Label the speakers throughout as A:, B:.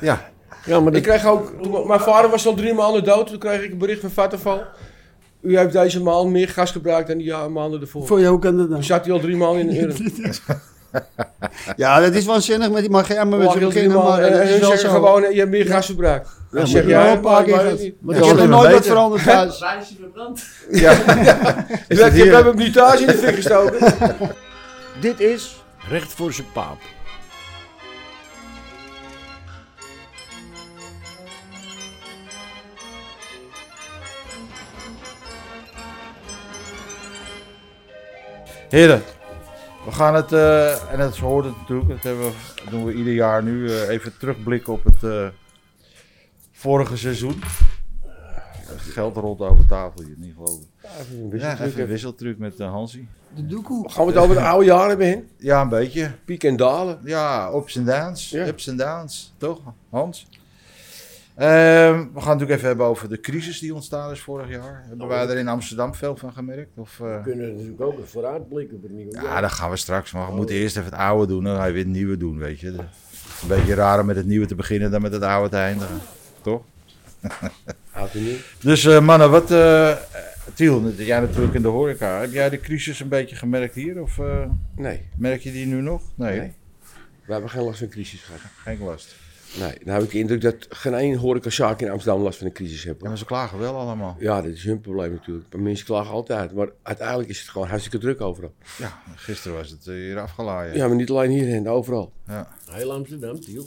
A: Ja.
B: Ja, maar
C: Ik
B: dat,
C: kreeg ook, toen- mijn vader was al drie maanden dood. Toen kreeg ik een bericht van Vattenfall. U heeft deze maand meer gas gebruikt dan die ja- maanden ervoor.
B: voor jou kan dat nou? dan.
C: Toen zat hij al drie maanden in de urn.
A: ja, dat is waanzinnig met die Magermen met
C: Lag
A: ze
C: heel drie
A: beginnen, maar
C: maanden en-
D: eh,
A: dat
C: En
A: is
C: hun
A: wel
C: zeggen
A: zo.
C: gewoon, eh, je hebt meer gas verbruikt. Dan
B: maar
C: zeg
B: dat wel
C: jij,
B: een paar
C: maar ik
B: keer
C: weet het
B: gaat.
C: niet.
B: Maar
A: Er is
B: dat
A: nog
B: is
A: nooit wat
B: beter.
A: veranderd thuis.
E: Wijsje verbrand.
C: Ik heb ik heb hem niet thuis in de fik gestoken.
B: Dit is Recht voor zijn paap.
A: Heren.
D: We gaan het, eh, en dat hoort het natuurlijk, dat, hebben we, dat doen we ieder jaar nu, eh, even terugblikken op het eh, vorige seizoen. Geld rolt over tafel hier, niet geloven. Ja, even een wisseltruc met eh, Hansi.
A: De doekoe.
C: Gaan we het over de oude jaren hebben, heen?
D: Ja, een beetje.
C: Piek en dalen.
D: Ja, ups en downs.
C: Ja.
D: Ups en downs, toch Hans? Ehm, we gaan het natuurlijk even hebben over de crisis die ontstaan is vorig jaar. Hebben wij er in Amsterdam veel van gemerkt? Of, eh,
B: We kunnen natuurlijk ook vooruitblikken op het nieuwe
D: Ja, dat gaan we straks. Maar we moeten eerst even het oude doen. Dan ga je weer het nieuwe doen, weet je. Een beetje raar om met het nieuwe te beginnen dan met het oude te eindigen. Toch?
C: Oud en nieuw.
D: Dus eh, mannen, wat... eh Tiel, jij natuurlijk in de horeca. Heb jij de crisis een beetje gemerkt hier? Of eh,
C: Nee,
D: merk je die nu nog? Nee,
C: Nee. we hebben geen last van crisis gehad.
D: geen last.
C: Nee, nou heb ik de indruk dat geen één horecazaak in Amsterdam last van een crisis heeft.
D: Ja,
C: hoor.
D: maar ze klagen wel allemaal.
C: Ja, dat is hun probleem natuurlijk. Maar Mensen klagen altijd. Maar uiteindelijk is het gewoon hartstikke druk overal.
D: Ja, gisteren was het eh, hier afgelaaid.
C: Ja, maar niet alleen hierheen, overal.
B: Heel Amsterdam, Tiel.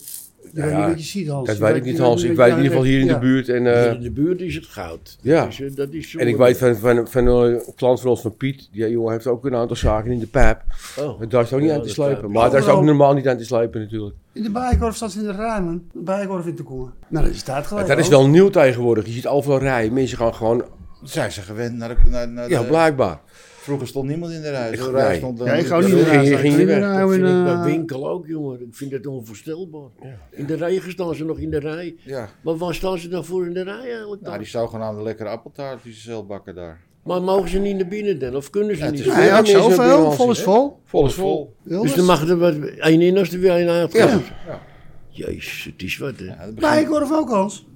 C: Ja,
F: Ja, wat je ziet, Hans.
C: Dat
F: Je
C: weet ik niet, Hans. Ik
F: je
C: weet in ieder geval hier in de
F: ja.
C: buurt. En, eh,
B: in de buurt is het goud.
C: ja.
B: Dus, eh, dat is zo-
C: en ik weet van, van, van een klant van ons, van Piet. Die jongen heeft ook een aantal zaken in de pijp.
B: Oh.
C: En Daar is ook niet
B: Ja,
C: aan te
B: dat
C: slepen.
B: kan.
C: Maar daar is ook normaal niet aan te slepen natuurlijk.
F: In de Bijenkorf staat ze in de ramen. De Bijenkorf in te komen. Nou, dat is tijd gelijk.
C: Dat is
F: hoor.
C: wel nieuw tegenwoordig. Je ziet overal rijen. Mensen gaan gewoon...
D: Zijn ze gewend naar de... Naar, naar
C: Ja,
D: de-
C: blijkbaar.
D: Vroeger stond niemand in de rij.
C: Ik-
D: Zo'n rij
C: nee.
D: stond dan-
A: Ja, ik ga ook
C: Toen
A: niet in de
C: ging,
A: raad.
C: ging je weg.
B: Dat
F: Nou,
B: vind
F: en,
B: ik bij
F: eh,
B: winkel ook, jongen. Ik vind het onvoorstelbaar. In de regen staan ze nog in de rij.
D: Ja.
B: Maar waar staan ze dan voor in de rij eigenlijk dan?
D: Nou, die zogenaamde lekkere appeltaart die ze zelf bakken daar.
B: Maar mogen ze niet naar binnen dan? Of kunnen ze
D: Ja, het
B: niet?
D: is-
A: Hij had
C: Ja, mensen hebben
A: zoveel,
C: wel
A: vol is
C: zin,
A: vol.
C: Vol is vol.
B: Dus dan mag er wat één in als er weer één uit
A: Ja.
B: Jezus, het is wat hè.
D: Ja, dat begint-
F: Bijenkorf ook, Hans.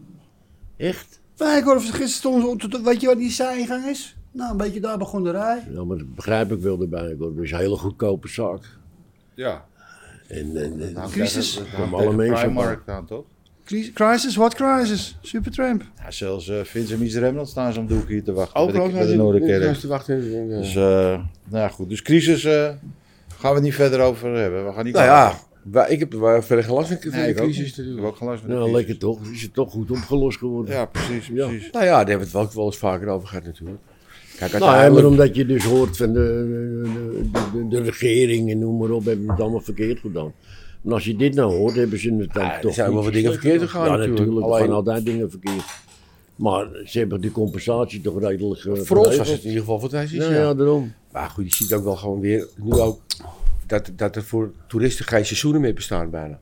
B: Echt?
F: Bijenkorf is gisteren stond ze op te- Weet je wat die zijingang is? Nou, een beetje daar begon de rij.
B: Nou, maar dat begrijp ik wel erbij. hoor. Dat is een hele goedkope zaak.
D: ja.
B: En, en, en-
D: Nou,
F: crisis.
D: dat- dat
B: Om
D: hangt
B: alle
D: tegen
B: mensen
D: Primark aan, toch?
F: Crisis- Crisis, what crisis? Supertramp.
D: Ja, zelfs eh Vincent Miseremland staan ze om de hoek hier te wachten. bij de-
C: Overal
D: bij
C: zijn
D: de Noorderkerk.
C: te wachten.
D: Dus, eh nou ja, goed. Dus crisis eh, gaan we het niet verder over hebben. We gaan niet
C: Nou ja, wij- ik heb er verder geen last van van
D: Nee,
C: de
D: ik ook
C: crisis
D: niet. Ik heb
C: natuurlijk.
D: ook geen last van de
B: nou,
D: crisis.
B: lekker toch. Is het toch goed opgelost geworden.
D: Ja, precies,
B: Ja.
D: precies.
C: Nou ja, daar hebben we het wel, ook wel eens vaker over gehad natuurlijk. Kijk,
B: Nou, ja,
C: uiteindelijk...
B: maar omdat je dus hoort van de, de, de, de- de regering en noem maar op, hebben het allemaal verkeerd gedaan. Maar als je dit nou hoort, hebben ze het dan
C: Ja, er
B: toch.
C: zijn wel
B: ietsje
C: wat dingen
B: slechter
C: verkeerd
B: gedaan.
C: gegaan
B: Ja,
C: natuurlijk.
B: natuurlijk. Er
C: Alleen-
B: gaan altijd dingen verkeerd. Maar ze hebben de compensatie toch redelijk. eh,
C: Voor ons was
B: geregeld.
C: het in ieder geval fantastisch.
B: Ja,
C: ja.
B: ja, daarom.
C: Maar goed, je ziet ook wel gewoon weer, nu ook, dat, dat er voor toeristen geen seizoenen meer bestaan bijna.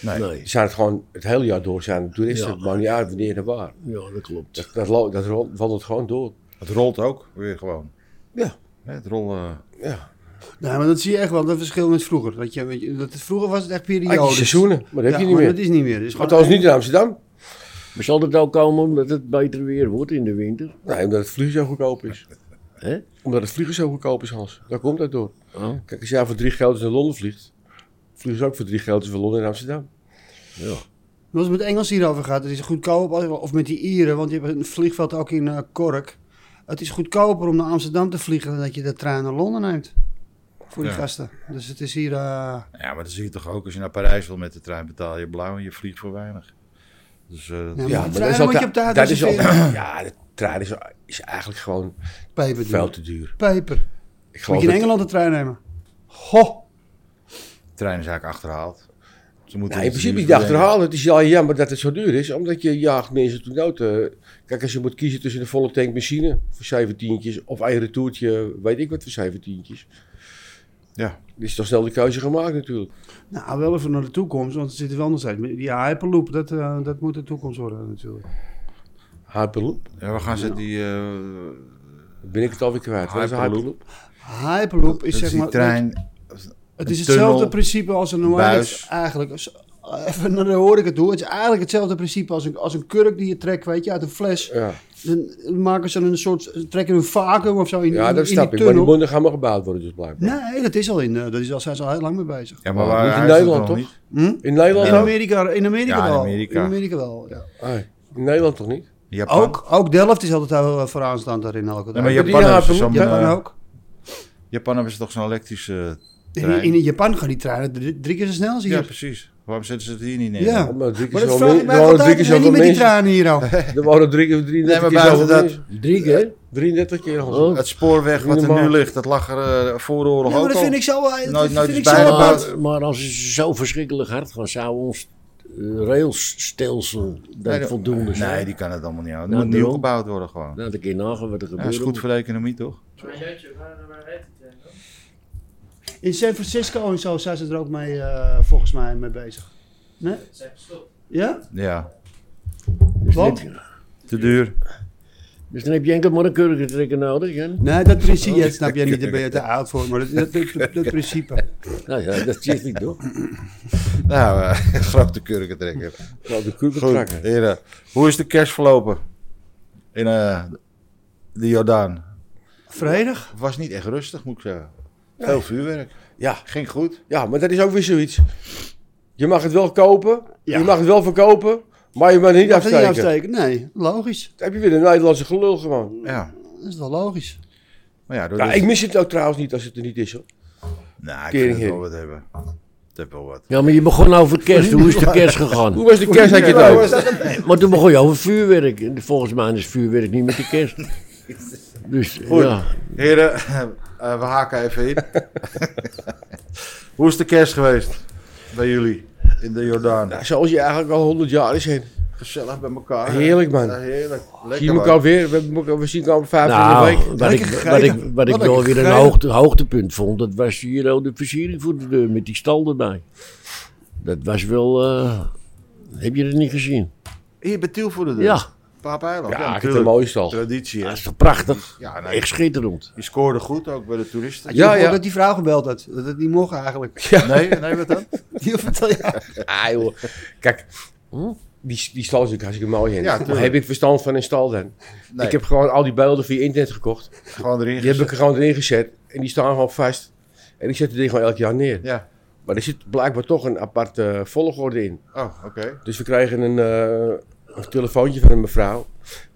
B: Nee.
C: Ze Zijn het gewoon het hele jaar door zijn er toeristen,
B: Ja.
C: het maakt niet uit wanneer en waar.
B: Ja, dat klopt.
C: Dat, dat, lo- dat ro- wandelt gewoon door.
D: Het rolt ook weer gewoon.
C: Ja.
D: Hè, Het rollen.
C: Ja,
F: Nee, maar dat zie je echt wel, dat verschil met vroeger. Dat je, weet je, dat, vroeger was het echt periodisch.
C: Had je seizoenen, maar dat heb
F: dus- Ja,
C: je niet
F: maar
C: meer.
F: dat is niet meer. Het is gewoon-
C: Althans niet in Amsterdam.
B: Maar zal het ook komen omdat het beter weer wordt in de winter?
C: Nee, omdat het vliegen zo goedkoop is.
B: Hè?
C: Omdat het vliegen zo goedkoop is, Hans. Daar komt dat door.
B: Oh.
C: Kijk, als jij voor drie gelders naar Londen vliegt, vliegen ze ook voor drie gelders van Londen naar Amsterdam.
B: Ja.
F: Als het met Engels hierover gaat, het is goedkoop. als- Of met die Ieren, want je hebt een vliegveld ook in eh, Kork. Het is goedkoper om naar Amsterdam te vliegen dan dat je de trein naar Londen neemt. Voor die
D: Ja.
F: gasten. Dus het is hier. eh,
D: Ja, maar dat zie je toch ook als je naar Parijs wil met de trein betaal je blauw en je vliegt voor weinig. Dus eh, dat-
F: Ja,
C: Ja, maar
F: maar de
C: dat is
F: treinen moet je op
C: altijd-
F: tijd
C: dat is al.
F: reserveren.
C: Ja, de trein is, is eigenlijk gewoon
F: Peper.
C: veel
F: doen.
C: te duur.
F: Peper.
C: Ik
F: Moet
C: geloof
F: je in
C: dat-
F: Engeland de trein nemen? Ho!
D: de trein is eigenlijk achterhaald. Ze moeten
C: Nou, in
D: iets
C: principe
D: nieuws
C: niet
D: bedenken.
C: achterhalen. Het is al jammer dat het zo duur is, omdat je jaagt mensen toen dood. eh. Kijk, als je moet kiezen tussen een volle tank benzine voor 17 of een retourtje, weet ik wat voor 17.
D: Ja.
C: Er is toch snel de keuze gemaakt natuurlijk.
F: Nou, wel even naar de toekomst, want het zit er wel nog steeds. met Die Hyperloop, dat, eh, dat moet de toekomst worden natuurlijk.
C: Hyperloop.
D: Ja, we gaan ze die. eh,
C: Ben ik het alweer kwijt. Wat is een Hyperloop?
F: Hyperloop is
D: dat
F: zeg
D: die
F: maar.
D: trein.
F: Het is
D: Een tunnel,
F: hetzelfde principe als een hoe heet het
D: buis.
F: eigenlijk. Als- even naar de horeca toe. Het is eigenlijk hetzelfde principe als een, als een kurk die je trekt, weet je, uit een fles.
C: Ja,
F: Dan maken ze een soort, trekken een vacuüm of zo in,
C: ja
F: in,
C: dat snap
F: in die
C: ik. Maar die
F: tunnel.
C: munnen gaan maar gebouwd worden, dus blijkbaar.
F: Nee, dat is al in, eh, dat is al, zijn ze al heel lang mee bezig.
D: Ja, maar
C: Ja,
D: waar
C: Oh, niet in
D: hij is het
C: Nederland,
D: nog
C: toch?
D: niet.
F: Hm?
C: In Nederland
F: In
C: ook?
F: Amerika, in Amerika
D: Ja, in
F: wel.
D: Amerika.
F: In Amerika wel, ja.
C: Ah, in Nederland toch niet?
D: Japan.
F: Ook, ook Delft is altijd heel eh, vooraanstaand daarin. Elke
D: Ja, maar
F: dag.
C: je-
D: Japan hebben ze
C: Ja,
D: zo'n,
F: Japan
D: eh,
F: ook.
D: Japan hebben ze toch zo'n elektrische...
F: In,
D: trein.
F: in Japan gaan die treinen drie, drie keer zo snel als hier.
D: Ja, precies. Waarom zetten ze het hier niet neer?
F: Ja.
C: Maar drie keer
F: Maar dat
C: zo
F: vraag ik
C: min-
F: mij
C: er wonen
F: altijd.
C: drie
F: Ik
C: keer zoveel
F: ben niet met die
C: mensen.
F: tranen hier
C: Er
F: al.
C: wonen drie keer 33
D: maar
C: keer
D: buiten
C: zoveel
D: dat-
C: mensen.
B: Drie keer?
C: 33 keer nog
B: Oh.
D: Het spoorweg wat er
C: Normaal.
D: nu ligt, dat lag er eh, voor de
F: Ja,
D: oorlog
F: maar
D: ook
F: dat
D: al.
F: vind ik zo... eh, Dat
D: Nooit- nooit
F: vind ik
D: is
F: zo...
D: bijna
F: eh,
D: baas.
B: Maar, maar als ze zo verschrikkelijk hard gaan, zou ons eh, railsstelsel dat
D: Nee, dat-
B: voldoende zijn.
D: Nee, die kan het allemaal niet houden.
B: Nou,
D: Er moet nieuw
B: nul.
D: gebouwd worden gewoon.
B: Laat ik in nagaan wat er
D: Ja,
B: gebeurt.
D: dat is goed voor de economie, toch?
E: Maar jeetje, waar, waar heet het dan?
F: In San Francisco en zo zijn ze er ook mee, eh, volgens mij, mee bezig. Nee?
E: Het zijn gestopt.
F: Ja?
D: Ja.
B: Dus dan,
F: Wat?
B: heb je,
D: Te duur.
B: dus dan heb je enkel maar een kurkentrekker nodig. Hè?
F: Nee, dat principe, dat snap jij niet, daar ben je te oud voor. Maar dat, dat, dat, dat principe.
B: Nou ja, dat zit niet toch?
D: Nou, eh grap de kurkentrekker.
C: Nou, de kurken
D: Goed,
C: trakken.
D: heren. Hoe is de kerst verlopen? In eh, de Jordaan.
F: Vredig?
D: Het was niet echt rustig, moet ik zeggen. Veel vuurwerk.
C: Ja.
D: Ging goed.
C: Ja, maar dat is ook weer zoiets. Je mag het wel kopen,
F: Ja.
C: je mag het wel verkopen, maar je mag het niet
F: Mag dat niet
C: afsteken.
F: afsteken? Nee, logisch.
C: Dan heb je weer een Nederlandse gelul gewoon.
D: Ja.
F: Dat is wel logisch.
D: Maar ja, door
C: Ja,
D: dit-
C: ik mis het nou trouwens niet als het er niet is hoor.
D: Nou, ik
C: Kering,
D: vind het
C: heren.
D: wel wat hebben. Het heeft wel wat.
B: Ja, maar je begon over kerst. Hoe is de kerst gegaan?
C: Hoe was de kerst uit je
D: Ja,
C: tijd?
B: Maar toen begon je over vuurwerk. En Volgens mij is vuurwerk niet met de kerst. Dus
D: Goed.
B: ja,
D: Heren, eh, we haken even in. Hoe is de kerst geweest bij jullie in de Jordaan?
C: Nou, zoals je eigenlijk al 100 jaar is heen.
D: Gezellig bij elkaar.
C: Heerlijk, man.
D: Ja, heerlijk.
C: Zie je
D: Lekker
C: elkaar
D: man.
C: weer, we, hebben elkaar- we zien elkaar vijf
B: nou,
C: in de week.
B: wat ik,
F: Lekker
B: wat ik,
F: gegeten.
B: wat ik
F: Lekker
B: wel weer een
F: gegeten.
B: hoogte, hoogtepunt vond, dat was hier al de versiering voor de deur met die stal erbij. Dat was wel, eh, heb je dat niet gezien?
D: Hier bij Tiel voor de deur.
B: Ja,
D: Paapeiland.
C: Ja, ik heb een
D: natuurlijk.
C: mooie stal.
D: Traditie,
B: dat
D: hè.
B: is toch prachtig?
D: Ja, nee.
B: Echt schitterend.
D: Je scoorde goed ook bij de toeristen.
C: Ja,
F: Ja, ja.
C: ja.
F: Dat die vrouw gebeld had. Dat het niet mocht eigenlijk.
D: Nee, nee, wat dan?
F: Die vertel je.
C: Ah joh, kijk, hm? die, die stal is natuurlijk hartstikke mooi heen.
D: Ja,
C: maar
D: tuurlijk.
C: heb ik verstand van een stal dan?
D: Nee.
C: Ik heb gewoon al die beelden via internet gekocht.
D: Gewoon erin
C: Die heb ik
D: gezet.
C: er gewoon erin gezet en die staan gewoon vast. En ik zet die ding gewoon elk jaar neer.
D: Ja.
C: Maar er zit blijkbaar toch een aparte volgorde in.
D: Oh, oké.
C: Dus we krijgen een, eh, een telefoontje van een mevrouw.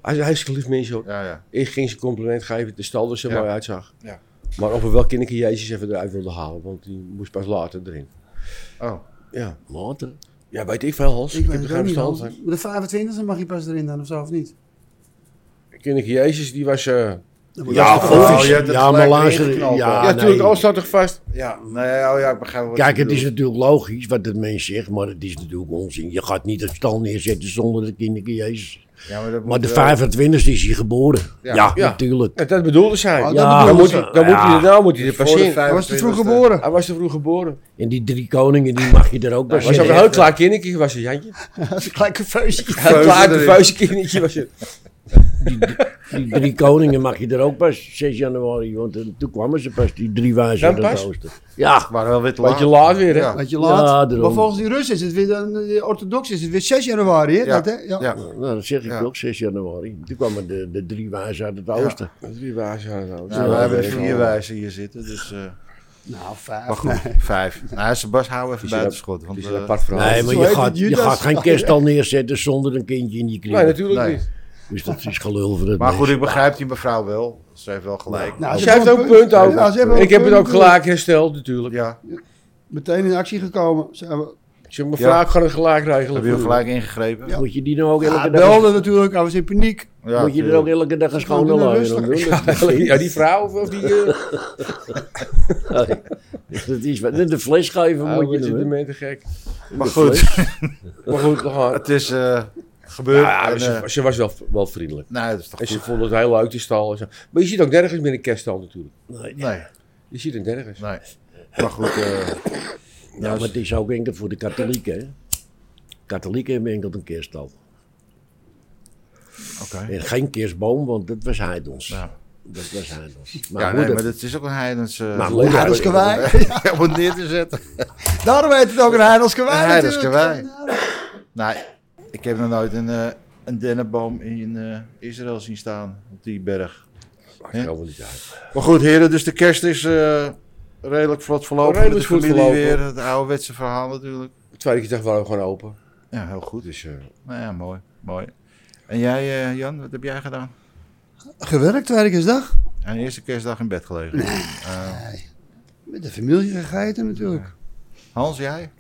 C: Hij is hij is een lief mens hoor.
D: Ja, ja.
C: Eerst ging ze een compliment geven, de stal er zo
D: Ja.
C: mooi uitzag.
D: Ja.
C: Maar of we wel kinderke Jezus even eruit wilden halen, want die moest pas later erin.
D: Oh.
C: Ja,
B: Later.
C: ja weet ik veel Hans. Ik,
F: Ik
C: heb er
F: weet
C: geen
F: het ook
C: verstand
F: niet.
C: van.
F: man. De 25e mag je pas erin dan of zo, of niet?
C: Kinderke Jezus die was... eh,
B: Ja,
D: toch-
B: volgens-
D: Oh, je hebt het
B: ja, maar
D: gelijk
B: later.
D: ingeknald,
B: Ja,
D: hoor.
C: ja,
B: nee.
C: natuurlijk, alles staat toch vast.
D: Ja, nee, oh ja, ik begrijp wat
B: Kijk,
D: je
B: het is
D: bedoelt.
B: natuurlijk logisch wat het mens zegt, maar het is natuurlijk onzin. Je gaat niet het stal neerzetten zonder de kinderen Jezus.
D: Ja, maar, dat
B: Maar
D: moet eh,
B: de
D: wel-
B: 25e is hij geboren. Ja,
C: ja.
B: natuurlijk.
C: Ja, dat bedoelde zij.
F: Oh, dat
B: Ja.
C: dan
F: bedoelde
C: moet
F: ze.
C: hij, dan moet hij,
B: Ja.
C: er- nou moet hij er pas
D: Voor de
C: in.
F: Hij was te vroeg
D: 25e.
F: geboren.
C: Hij was te vroeg geboren.
B: En die drie koningen, die mag je er ook bij
C: Hij was ook
B: zeggen.
C: een heel klaar kindertje, was hij, Jantje.
F: Dat is een klein feestje.
C: Heel klaar,
D: erin.
C: vuistje kindertje was hij.
B: Die drie koningen mag je er ook pas 6 januari, want eh, toen kwamen ze pas, die drie wijzen
C: Dan
B: uit het
C: pas?
B: oosten. Ja,
D: Maar wel wit
C: Beetje laat weer, hè?
D: Ja.
F: Weet je laat.
B: daarom.
F: maar volgens die Russen is het weer, dan, de orthodox is het weer 6 januari, hè?
D: Ja.
F: Dat, hè? Ja.
D: Ja.
B: nou, dat zeg ik
D: Ja.
B: ook, 6 januari. Toen kwamen de, de drie wijzen uit het oosten.
C: Drie bazen aan het
D: Nou, we hebben de vier wijzen hier zitten, dus... eh,
F: Nou,
D: maar
F: vijf.
D: goed,
F: nee.
D: vijf. Nou, Sebastian, hou even
C: is een-
D: buitenschot. Want,
C: is
D: eh,
C: een apart verhaal.
B: Nee,
C: Nee,
B: maar
F: Zo
B: je
F: heet
B: gaat,
F: het,
B: je
F: Judas.
B: gaat geen kerststal neerzetten zonder een kindje in je kring.
C: natuurlijk
D: Nee.
C: niet.
B: Dus dat is gelul voor het
D: maar
B: mens.
D: goed, ik begrijp die mevrouw wel. Ze heeft wel gelijk.
F: Nou,
C: Zij heeft ook een punt
F: Ja,
C: over.
F: ze hebben ook
C: ik heb het
F: punt,
C: ook gelijk hersteld, natuurlijk.
D: Ja,
F: Meteen in actie gekomen. Zijn we
C: Ik zeg, mevrouw,
D: Ja.
C: ik ga het gelijk regelen.
D: heb je
C: voor u.
D: gelijk ingegrepen?
B: Moet je die nou ook elke
F: Ja,
B: dag...
F: belden natuurlijk, hij was in paniek.
D: Ja,
B: moet je er ook
D: tuurlijk.
B: elke dag een schone
F: Doe nou
B: laaien
F: rustig.
B: aan doen? Dat-
C: Ja, die vrouw of- of die... eh,
B: Dat is wat. De fles geven
C: Oh,
B: moet je
C: wat zit de
B: doen.
C: mensen gek.
D: Maar goed,
C: Maar goed, we gaan.
D: het is eh, gebeurd.
C: Ja,
D: en,
C: ze,
D: eh,
C: ze was wel, wel vriendelijk.
D: nee, dat is toch
C: En ze
D: goed?
C: vond het heel leuk, die stal. en zo. Maar je ziet ook nergens meer een kerststal natuurlijk.
D: Nee,
C: Je ziet het nergens.
D: nee. Maar goed, eh,
B: Ja, Nou, maar het is ook enkel voor de katholieken. hè. Katholieken hebben enkel een kerststal.
D: oké.
B: En geen kerstboom, want dat was heidens.
D: Ja.
B: Dat was Heidens. Maar
D: Ja, nee,
B: moeder,
D: maar dat is ook een heidens... eh,
B: Maar
D: zo-
B: moeder-
A: Heidels Kwaai.
D: om het neer te zetten.
A: Daarom heet het ook een Heidels Kwaai
D: Een Heidels
A: natuurlijk.
D: Nee, ik heb nog nooit een, eh, een dennenboom in eh, Israël zien staan, op die berg.
B: maakt
D: hè?
B: helemaal niet uit.
D: Maar goed, heren, dus de kerst is eh, redelijk vlot verlopen.
C: Redelijk
D: met
C: vlot
D: de familie
C: verlopen.
D: weer, het ouderwetse verhaal natuurlijk.
C: De tweede keer dag waren we gewoon open.
D: Ja, heel goed.
C: Dus eh,
D: Nou ja, mooi, mooi. En jij, eh, Jan, wat heb jij gedaan?
F: Gewerkt, werkersdag.
D: Aan de eerste kerstdag in bed gelegen. Eh,
F: Met de familie gegeten natuurlijk.
D: Hans, jij?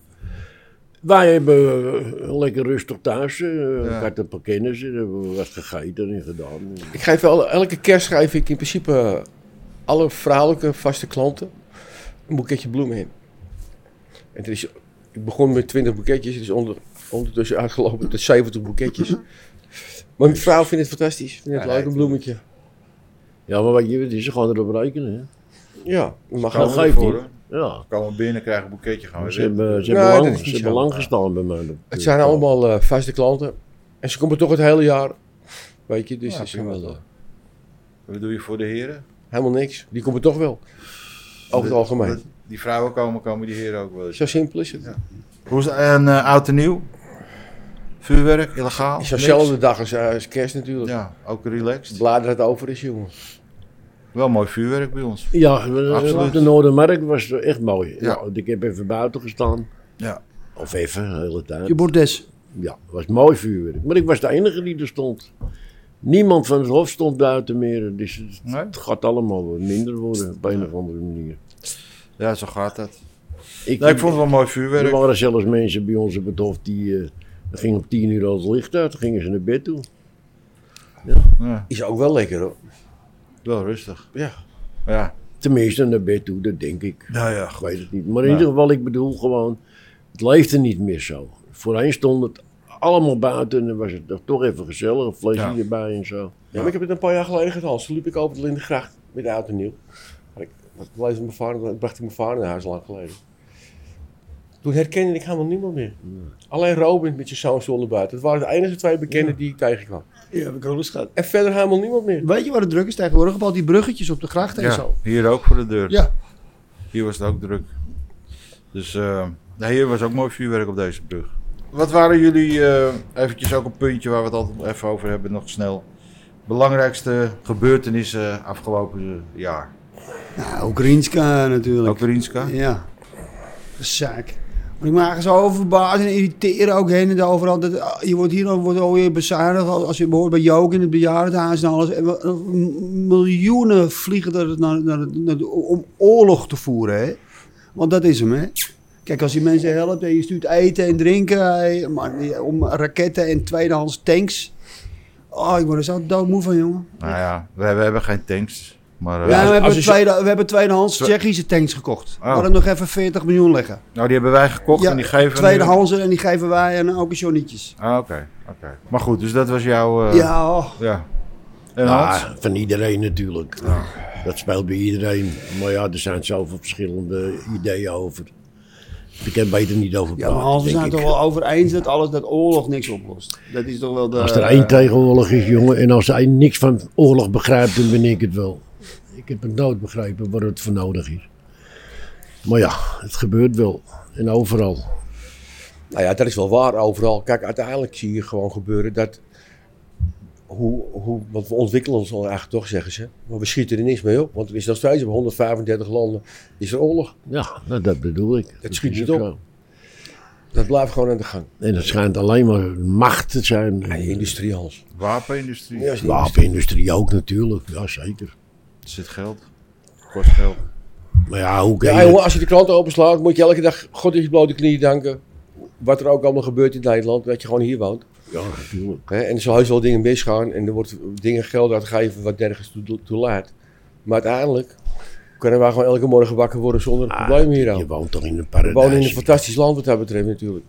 B: Wij hebben eh, lekker rustig thuis. eh,
D: Ja.
B: Ik had een paar kennissen, daar hebben we wat gegeten en gedaan.
C: ik geef wel, elke kerst geef ik in principe alle vrouwelijke vaste klanten een boeketje bloemen in. En er is, ik begon met 20 boeketjes, het is onder, ondertussen uitgelopen tot 70 boeketjes. Maar mijn vrouw vindt het fantastisch, vindt het
D: Ja,
C: leuk een
D: ja,
C: bloemetje.
B: Ja, maar wat je weet, ze gaan erop rekenen. hè.
C: Ja, dat mag
B: Dat
D: Gaan
C: ook.
D: we
B: geeft
D: ervoor,
B: niet. Ja.
D: Komen we binnen, krijgen een boeketje, gaan we
B: Ze
D: weer.
B: hebben, ze
C: Nee,
B: hebben,
C: dat
B: lang,
C: is
B: ze
C: niet
B: hebben
C: zo.
B: lang gestaan bij mij. op de
C: Het zijn
B: tafel.
C: allemaal eh, vaste klanten. En ze komen toch het hele jaar. Weet je, dus
D: Ja,
C: dat is
D: prima
C: wel,
D: toch.
C: eh,
D: Wat doe je voor de heren?
C: helemaal niks. Die komen toch wel. Over het algemeen.
D: Die vrouwen komen, komen die heren ook wel eens.
C: Zo simpel is het. Ja.
D: Hoe is en eh, oud en nieuw? Vuurwerk, illegaal?
C: Is
D: niks?
C: dezelfde dag als, eh, als kerst natuurlijk.
D: Ja, ook relaxed.
C: Blader het over is, jongen.
D: Wel mooi vuurwerk bij ons.
B: Ja, we-
D: Absoluut.
B: op de Noordermarkt was het echt mooi. Ja.
D: Ja.
B: want ik heb even buiten gestaan.
D: Ja.
B: Of even, de hele tijd.
F: Je bordes.
B: Ja, het was mooi vuurwerk. Maar ik was de enige die er stond. Niemand van het hof stond buiten meer. Dus het
D: Nee?
B: het gaat allemaal wat minder worden op een of andere manier.
D: Ja, zo gaat dat.
B: Ik,
D: Nee, ik vond het wel mooi
B: er
D: vuurwerk.
B: waren zelfs mensen bij ons op het hof die eh, dat ging om tien uur al het licht uit. Dan gingen ze naar bed toe.
D: Ja,
C: Is ook wel lekker hoor.
D: wel rustig.
C: Ja.
D: Ja.
B: Tenminste, naar bed toe, dat denk ik.
D: Nou ja,
B: Ik weet het niet. Maar in
D: Ja.
B: ieder geval, ik bedoel gewoon, het leefde niet meer zo. Voorheen stond het allemaal buiten en dan was het toch even gezellig. Een flesje
D: Ja.
B: erbij en zo.
C: Ja, maar ik heb het een paar jaar geleden gedaan. Toen liep ik over de Lindengracht met de auto nieuw. Maar ik, dat leefde mijn vader, dat bracht ik mijn vader naar huis lang geleden. Toen herkende ik helemaal niemand meer. Alleen Robin met zijn zoon zonder buiten. Dat waren de enige twee bekenden die ik tegenkwam.
F: Ja, heb ik ook eens gehad.
C: En verder helemaal niemand meer.
F: Weet je waar het druk is tegenwoordig? Op al die bruggetjes op de grachten en
D: ja.
F: zo.
D: Hier ook voor de deur.
F: Ja.
D: Hier was het ook druk. Dus eh, nou, hier was ook mooi vuurwerk op deze brug. Wat waren jullie, eh, eventjes ook een puntje waar we het altijd even over hebben, nog snel. Belangrijkste gebeurtenissen afgelopen eh, jaar.
F: Nou, Oekraïnska natuurlijk.
D: Ook weer Inska?
F: Ja. Zaak. Maar ik maak zo over verbaasd en irriteren ook heen en daar overal. Dat, ah, je wordt hier al- wordt alweer bezuinigd. Als als je behoort bij Jook in het bejaardenhuis en alles. En wat- m- miljoenen vliegen er naar, naar, naar, om oorlog te voeren. Hè? Want dat is hem, hè? Kijk, als je mensen helpt en je stuurt eten en drinken. hè, maar die- om raketten en tweedehands tanks. Oh, ik word er zo doodmoe van, jongen.
D: Nou ja, we, we hebben geen tanks. Maar, eh,
F: Ja, we, hebben
C: je-
F: tweede, we hebben tweedehands
D: Twe-
F: Tsjechische tanks gekocht.
D: Oh.
F: We hadden nog even 40 miljoen leggen.
D: nou, die hebben wij gekocht en die geven... we nu-
F: tweedehands en die geven wij en ook een Johnnetjes.
D: Ah, oké. oké. Maar goed, dus dat was jouw... eh,
F: ja, oh.
D: ja. En Hans?
B: Ja, Nou, van iedereen natuurlijk. Dat speelt bij iedereen. Maar ja, er zijn zoveel verschillende ideeën over. Ik kan beter niet over
F: ja,
B: praten,
F: maar Hans, we
B: denk
F: zijn
B: ik.
F: toch wel over eens dat alles dat oorlog niks oplost. Dat is toch wel de.
B: Als er één tegenwoordig is, jongen, en als hij niks van oorlog begrijpt, dan ben ik het wel. Ik heb het nooit begrepen waar het voor nodig is. Maar ja, het gebeurt wel. En overal.
C: Nou ja, dat is wel waar overal. Kijk, uiteindelijk zie je gewoon gebeuren dat. Hoe, hoe, want we ontwikkelen ons al eigenlijk toch, zeggen ze. Maar we schieten er niks mee op. Want er is nog steeds op 135 landen is er oorlog.
B: Ja, nou, dat bedoel ik.
C: schiet
B: is
C: niet
B: ook
C: op.
B: zo.
C: Dat blijft gewoon aan de gang.
B: En het schijnt alleen maar macht te zijn. eh,
C: Ja, industrie, Hans.
D: Wapenindustrie.
C: Ja,
D: Er
C: is
B: De
C: niet-
B: wapenindustrie ook natuurlijk, ja zeker.
D: zit geld. Kost geld.
B: Maar ja, hoe kan
C: Ja,
B: je...
C: jongen, als je de kranten openslaat, moet je elke dag God in je blote knieën danken. Wat er ook allemaal gebeurt in Nederland, dat je gewoon hier woont.
B: Ja, natuurlijk.
C: Hè, en er zal heus wel dingen misgaan en er wordt dingen geld uitgegeven wat nergens toe, toe laat. Maar uiteindelijk kunnen wij gewoon elke morgen wakker worden zonder
B: Ah,
C: problemen hier
B: Je woont toch in een paradijs.
C: We wonen in een fantastisch land wat dat betreft natuurlijk.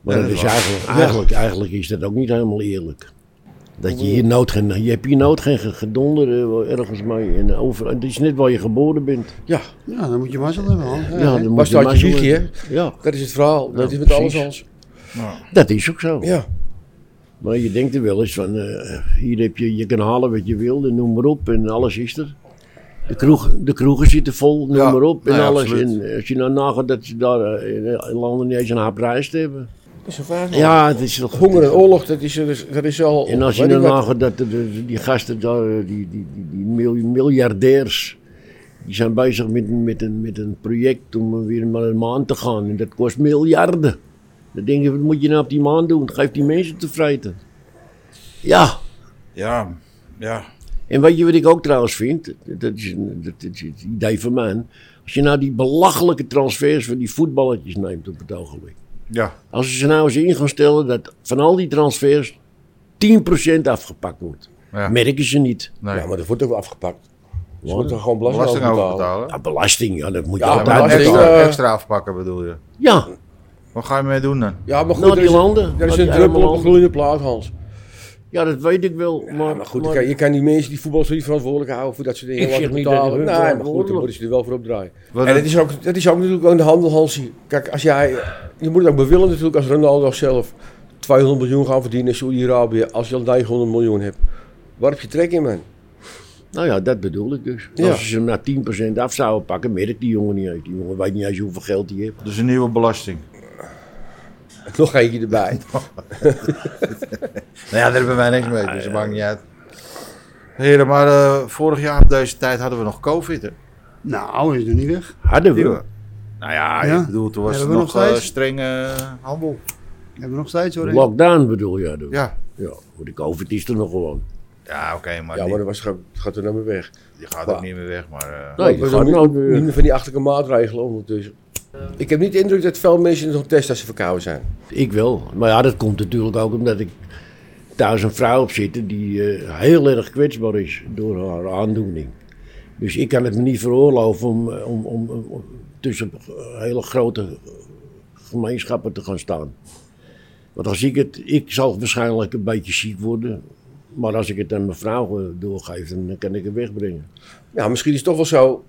B: Maar
D: Ja,
B: dat
D: dat
B: is
D: was-
B: eigenlijk, eigenlijk, eigenlijk is dat ook niet helemaal eerlijk. Dat je hier nood geen, je hebt hier nood geen ge- gedonder eh, ergens mee. En over, het is net waar je geboren bent.
C: Ja,
F: Ja, dan moet je mazzel hebben, Hans. Ja, hè?
B: dan
C: was dat
B: maar
C: je
B: zo-
C: wiegje,
B: Ja,
C: dat is het verhaal. dat
B: Ja,
C: is met alles
B: precies.
C: als.
B: dat is ook zo.
C: Ja.
B: Maar je denkt er wel eens van, eh, hier heb je, je kan halen wat je wil en noem maar op en alles is er. De, kroeg, de kroegen zitten vol, noem
D: Ja,
B: maar op en
D: nou ja,
B: alles.
D: absoluut.
B: En als je nou nagaat dat ze daar eh, in eh, landen niet eens een hap rijst hebben.
C: Dat is een vraag. man.
B: Ja, het is toch...
C: Honger en oorlog, dat is, dat is, dat is al...
B: En als je
C: Oh, weet ik
B: nou
C: wat.
B: nagaat dat de- de- die gasten daar, eh, die, die, die, die mil- miljardairs, die zijn bezig met, een- met, een, met een project om weer naar de maan te gaan. En dat kost miljarden. Dan denk je, wat moet je nou op die maan doen? Geef die mensen te vreten. Ja,
D: Ja, ja.
B: en weet je wat ik ook trouwens vind? Dat is, een- dat is het idee van mij. Als je nou die belachelijke transfers van die voetballetjes neemt op het ogenblik.
D: Ja,
B: Als ze nou eens in gaan stellen dat van al die transfers 10% afgepakt wordt.
D: Ja.
B: Merken ze niet.
D: nee.
C: Ja, maar dat wordt ook wel afgepakt. Ze moeten er gewoon belasting,
D: belasting
C: over
D: over
C: betalen.
D: betalen.
B: Ja, belasting, ja, dat moet je
C: Ja,
D: Ja,
B: altijd
D: maar
C: belasting,
B: betalen.
D: extra,
C: eh,
D: extra afpakken bedoel je.
B: Ja,
D: Wat ga je mee doen dan?
C: Ja, maar goed,
B: naar
C: er
B: die
C: is,
B: landen.
C: er is
B: Naar
C: een
B: die
C: druppel
B: arme
C: op een
B: landen.
C: gloeiende plaat, Hans.
B: Ja, dat weet ik wel. maar,
C: Ja, maar goed,
B: maar-
C: je, kan, je kan die mensen die voetballers niet verantwoordelijk houden voor dat soort dingen.
B: Ik zeg
C: laten
B: niet dat
C: betalen.
B: hun
C: Nee, maar goed,
B: verantwoordelijk.
C: dan moeten ze er wel voor opdraaien.
D: Wat
C: en
D: dan?
C: dat is, ook, dat is ook natuurlijk ook in de handel, Hansie. Kijk, als jij, je moet het ook bewillen natuurlijk als Ronaldo zelf 200 miljoen gaan verdienen in Saudi-Arabië. Als je al 900 miljoen hebt. Waar heb je trek in, man?
B: Nou ja, dat bedoel ik dus.
C: Ja.
B: Als ze hem naar 10% af zouden pakken, merkt die jongen niet uit. Die jongen weet niet eens hoeveel geld hij heeft.
D: Dus een nieuwe belasting.
C: Nog eentje erbij.
D: Nou ja, daar hebben wij niks mee, dus dat maakt niet uit. Heren, maar eh, vorig jaar op deze tijd hadden we nog COVID, hè?
F: Nou, is nog niet weg.
B: Hadden we.
D: Nou ja,
F: Ja.
D: ik bedoel, toen was
F: Hebben
D: er
F: we
D: nog,
F: nog
D: eh,
F: steeds?
D: strenge handel.
F: Hebben we nog steeds hoor. hè?
B: Lockdown bedoel je? Ja.
D: Ja,
B: ja. Voor de COVID is er nog gewoon.
D: ja oké, maar,
C: Ja,
D: die,
C: maar dat was, gaat er nou weer weg.
D: die gaat
C: maar-
D: ook niet meer weg, maar... eh,
B: Nee,
C: we zijn
B: dat gaat nou
C: niet,
B: nooit meer.
C: niet meer van die achterlijke maatregelen ondertussen. Ik heb niet de indruk dat veel mensen nog testen als ze verkouden zijn.
B: Ik wel. Maar ja, dat komt natuurlijk ook omdat ik thuis een vrouw op zitten die eh, heel erg kwetsbaar is door haar aandoening. Dus ik kan het me niet veroorloven om, eh, om, om, om tussen eh, hele grote gemeenschappen te gaan staan. Want als ik het, ik zal waarschijnlijk een beetje ziek worden. Maar als ik het aan mijn vrouw eh, doorgeef, dan kan ik het wegbrengen.
C: Ja, misschien is het toch wel zo